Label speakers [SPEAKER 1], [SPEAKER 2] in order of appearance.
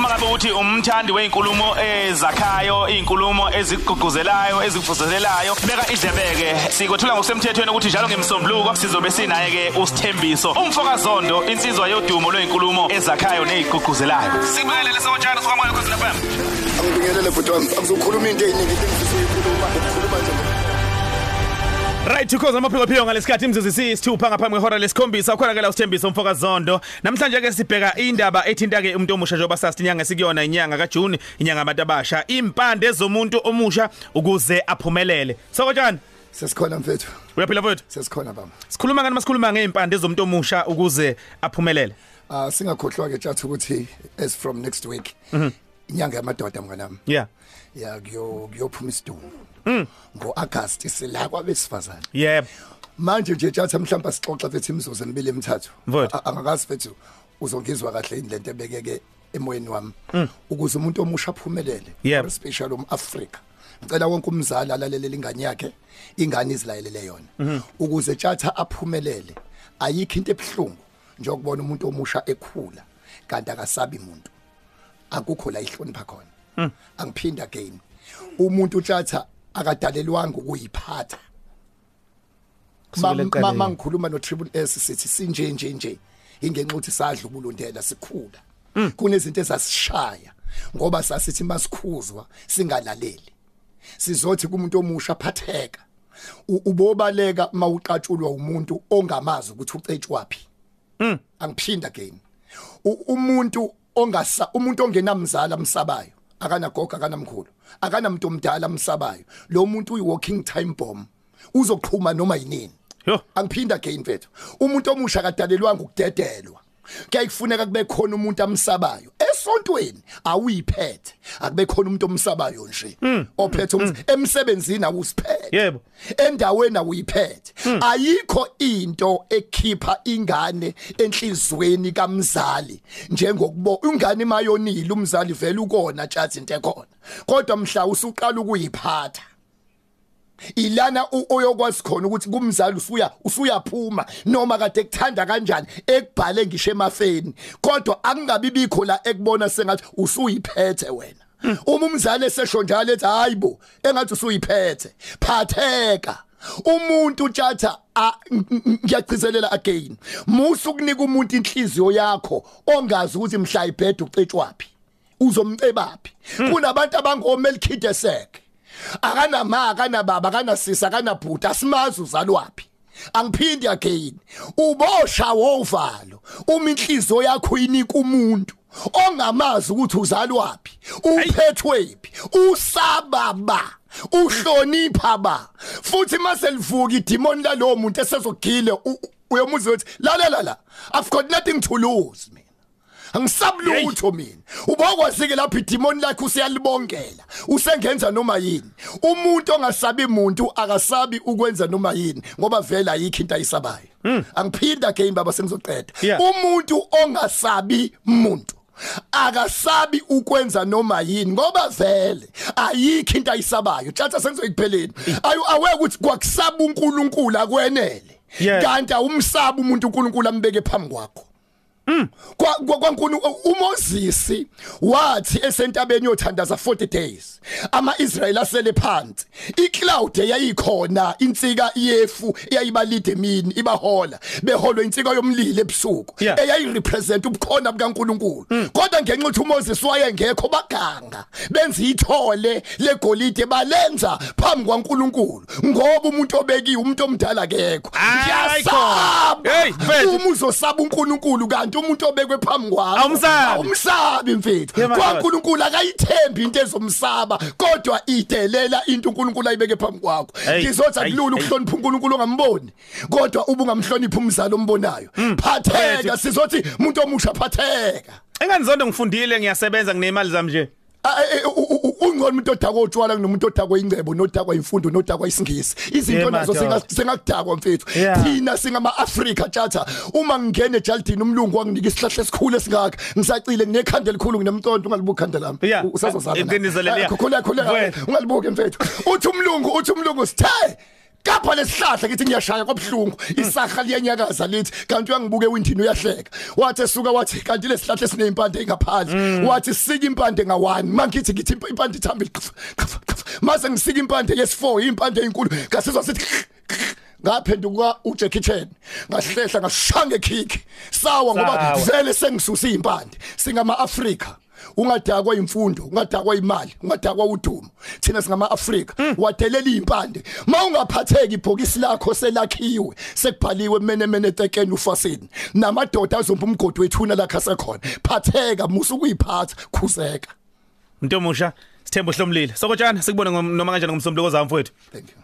[SPEAKER 1] ngabe uthi umthandi wey'nkulumo ezakhayo iy'nkulumo ezigqugquzelayo ezikuvuselelayo beka idlebeke sikwethula ngokusemthethweni ukuthi njalo ngemsombuluko sizobe sinaye-ke usithembiso umfokazondo insizwa yodumo lwey'nkulumo ezakhayo ney'gqugquzelayo sibuyelele sokotshana sokamoya kwezinafam
[SPEAKER 2] angibingelele bhuti wami angizokhuluma into ey'ningi into engifisa uyikhuluma ngikhuluma nje
[SPEAKER 1] Right because amaphikophiko ngalesikhathi imzuzu isithupha ngaphambi kwehora lesikhombisa ukhona ke la usithembiso mfokazondo namhlanje ke sibheka indaba ethinta ke umuntu omusha njengoba sasiyanga sikuyona inyanga kaJune inyanga abantu abasha impande zomuntu omusha ukuze aphumelele sokotjani
[SPEAKER 2] sesikhona mfethu
[SPEAKER 1] uyaphila mfowethu
[SPEAKER 2] sesikhona baba
[SPEAKER 1] sikhuluma ngani masikhuluma ngeimpande zomuntu omusha ukuze aphumelele
[SPEAKER 2] ah singakhohlwa ke tshatha ukuthi as from next week inyanga yamadoda mnganami
[SPEAKER 1] yeah
[SPEAKER 2] ya kuyo kuyophuma isidumbu ngo August sila kwabesifazana
[SPEAKER 1] yebo
[SPEAKER 2] manje nje tshatha mhlawumbe sixoxa fethi imizuzu emibili emithathu
[SPEAKER 1] Mfowethu.
[SPEAKER 2] A- angakazi fethu uzongizwa kahle yini lento ebekeke emoyeni wami ukuze umuntu omusha aphumelele
[SPEAKER 1] Mm. Yebo.
[SPEAKER 2] especially umAfrika ngicela wonke umzali alalele ingane yakhe ingane izilayelele
[SPEAKER 1] Mhm.
[SPEAKER 2] yona ukuze tshatha aphumelele ayikho into ebhlungu njengokubona umuntu omusha ekhula kanti akasabi umuntu akukho la ihlonipha khona angiphinda again umuntu tshatha akadalelwanga ukuyiphatha
[SPEAKER 1] Kusukela eqaleni.
[SPEAKER 2] mama ngikhuluma no Triple S sithi sinje nje nje ingenxa ukuthi sadla ubulundela sikhula kunezinto ezasishaya ngoba sasithi masikhuzwa singalaleli sizothi kumuntu omusha phatheka U- ubobaleka mawuqatshulwa umuntu ongamazi ukuthi ucetshwapi angiphinda again U- umuntu ongasa umuntu ongenamzala amsabayo akanagogo akanamkhulu akanamuntu omdala amsabayo lo muntu uyi walking time bomb uzoqhuma noma yinini
[SPEAKER 1] Yho.
[SPEAKER 2] angiphinda again mfethu umuntu omusha akadalelwanga ukudedelwa kuyayifuneka kube khona umuntu amsabayo esontweni awuyiphethe akube khona umuntu omsabayo nje ophethe umse- emsebenzini awusiphethe
[SPEAKER 1] Yebo.
[SPEAKER 2] endaweni awuyiphethe ayikho into ekhipha ingane enhlizweni kamzali njengokubo ingane mayonile umzali vele ukona tshathi into ekhona kodwa mhla usuqala ukuyiphatha ilana u- oyokwazi khona ukuthi kumzali usuya usuyaphuma noma kade kuthanda kanjani ekubhale ngisho emafeni kodwa akungabi bikho la ekubona sengathi usuyiphethe wena uma umzali esesho njalo ethi hayibo engathi usuyiphethe phatheka umuntu tjatha a- ng- ng- ngiyagcizelela again musu kunika umuntu inhliziyo yakho ongazi ukuthi mhla ibhedwe ucetshwapi uzomcebaphi kunabantu abangomelkidesek akanama akanababa akanasisa akanabhuti asimazi uzalwapi angiphindi again ubosha wovalo uma inhliziyo yakho inika umuntu ongamazi ukuthi uzalwapi uphethwephi usababa uhlonipha ba futhi mase livuka idemon lalowo muntu esezogile u- uyomuzwa ukuthi lalela la i've got nothing to lose man angisabulutho mina ubokwazi-ke lapho idimoni lakhe usiyalibongela usengenza noma yini umuntu ongasabi muntu akasabi ukwenza noma yini ngoba vele ayikho into ayisabayo angiphinda game baba sengizoqeda
[SPEAKER 1] Hmm. Yeah.
[SPEAKER 2] umuntu ongasabi muntu akasabi ukwenza noma yini ngoba vele ayikho into ayisabayo tshata sengizoyikupheleni ayu aweke ukuthi kwakusaba unkulunkulu akwenele
[SPEAKER 1] Yeah.
[SPEAKER 2] kanti awumsabi umuntu unkulunkulu ambeke phambi kwakho kwa kwa- kwankulu uMoses wathi esentabeni yothandaza 40 days amaIsrayeli asele phansi icloud eyayikhona insika yefu eyayibalide emini ibahola beholwa insika yomlilo ebusuku
[SPEAKER 1] Yeah. Mm.
[SPEAKER 2] eyayirepresent ubukhona bukaNkuluNkulu kodwa ngenxa ukuthi uMoses wayengekho baganga benza ithole legolide balenza phambi kwaNkuluNkulu ngoba umuntu obekiwe umuntu omdala akekho
[SPEAKER 1] Hayi khona. Hey, mfethu.
[SPEAKER 2] uma uzosaba uNkulunkulu kanti umuntu obekwe phambi kwakho
[SPEAKER 1] Awumsabi.
[SPEAKER 2] awumsabi mfethu
[SPEAKER 1] Yeah, man.
[SPEAKER 2] kwaNkulunkulu akayithembi into ezomsaba kodwa idelela into uNkulunkulu ayibeke phambi kwakho
[SPEAKER 1] Hey,
[SPEAKER 2] ngizothi
[SPEAKER 1] hey,
[SPEAKER 2] akulula
[SPEAKER 1] hey.
[SPEAKER 2] ukuhlonipha uNkulunkulu ongamboni kodwa uba ungamhloniphi umzali ombonayo
[SPEAKER 1] Hmm.
[SPEAKER 2] phatheka sizothi umuntu omusha phatheka
[SPEAKER 1] enganizondo ngifundile ngiyasebenza nginemali zami nje
[SPEAKER 2] Ah, eh, eh, u- u- u- ungcono umuntu odakwa utshwala kunomuntu odakwa ingcebo nodakwa imfundo nodakwa isingisi izinto
[SPEAKER 1] Yeah,
[SPEAKER 2] nazo
[SPEAKER 1] madoda.
[SPEAKER 2] singa- singakudakwa mfethu
[SPEAKER 1] Yeah.
[SPEAKER 2] thina singama-afrika tshata uma ngingena ejaldini umlungu wanginika isihlahla esikhulu esingaka ngisacile nginekhanda elikhulu nginemconto ungalibuki khanda lami
[SPEAKER 1] Yeah.
[SPEAKER 2] U- Eh, usazozala
[SPEAKER 1] Iqiniso leli, yeah.
[SPEAKER 2] khuleka khuleka
[SPEAKER 1] Mfowethu.
[SPEAKER 2] ungalibuki mfethu uthi umlungu uthi umlungu sithe kapha lesihlahla kithi ngiyashaya kwabhlungu isahla liyenyakaza lithi kanti uyangibuka ewindini uyahleka wathi esuka wathi kanti lesihlahla sineimpande engaphandle wathi sika impande ngawani mangithi ngithi imp- impande ithambile qf, qf, qf. mase ngisika impande yes4 impande enkulu ngasizwa sithi ngaphenduka uJackie Chan ngahlehla ngashanga ekhiki sawa ngoba
[SPEAKER 3] Sawa.
[SPEAKER 2] vele sengisusa impande singama Africa ungadakwa imfundo ungadakwa imali ungadakwa udumo thina singama Africa wadelela impande mawungaphatheki ibhokisi lakho selakhiwe sekubhaliwe mene mene tekeni ufasini namadoda azompa umgodi wethuna lakha sekhona phatheka musu kuyiphatha khuzeka
[SPEAKER 3] Mntomusha, Sithembo Hlomlile. Sokotjana sikubone ngom- noma kanjani ngomsombuluko zamfowethu.
[SPEAKER 2] thank you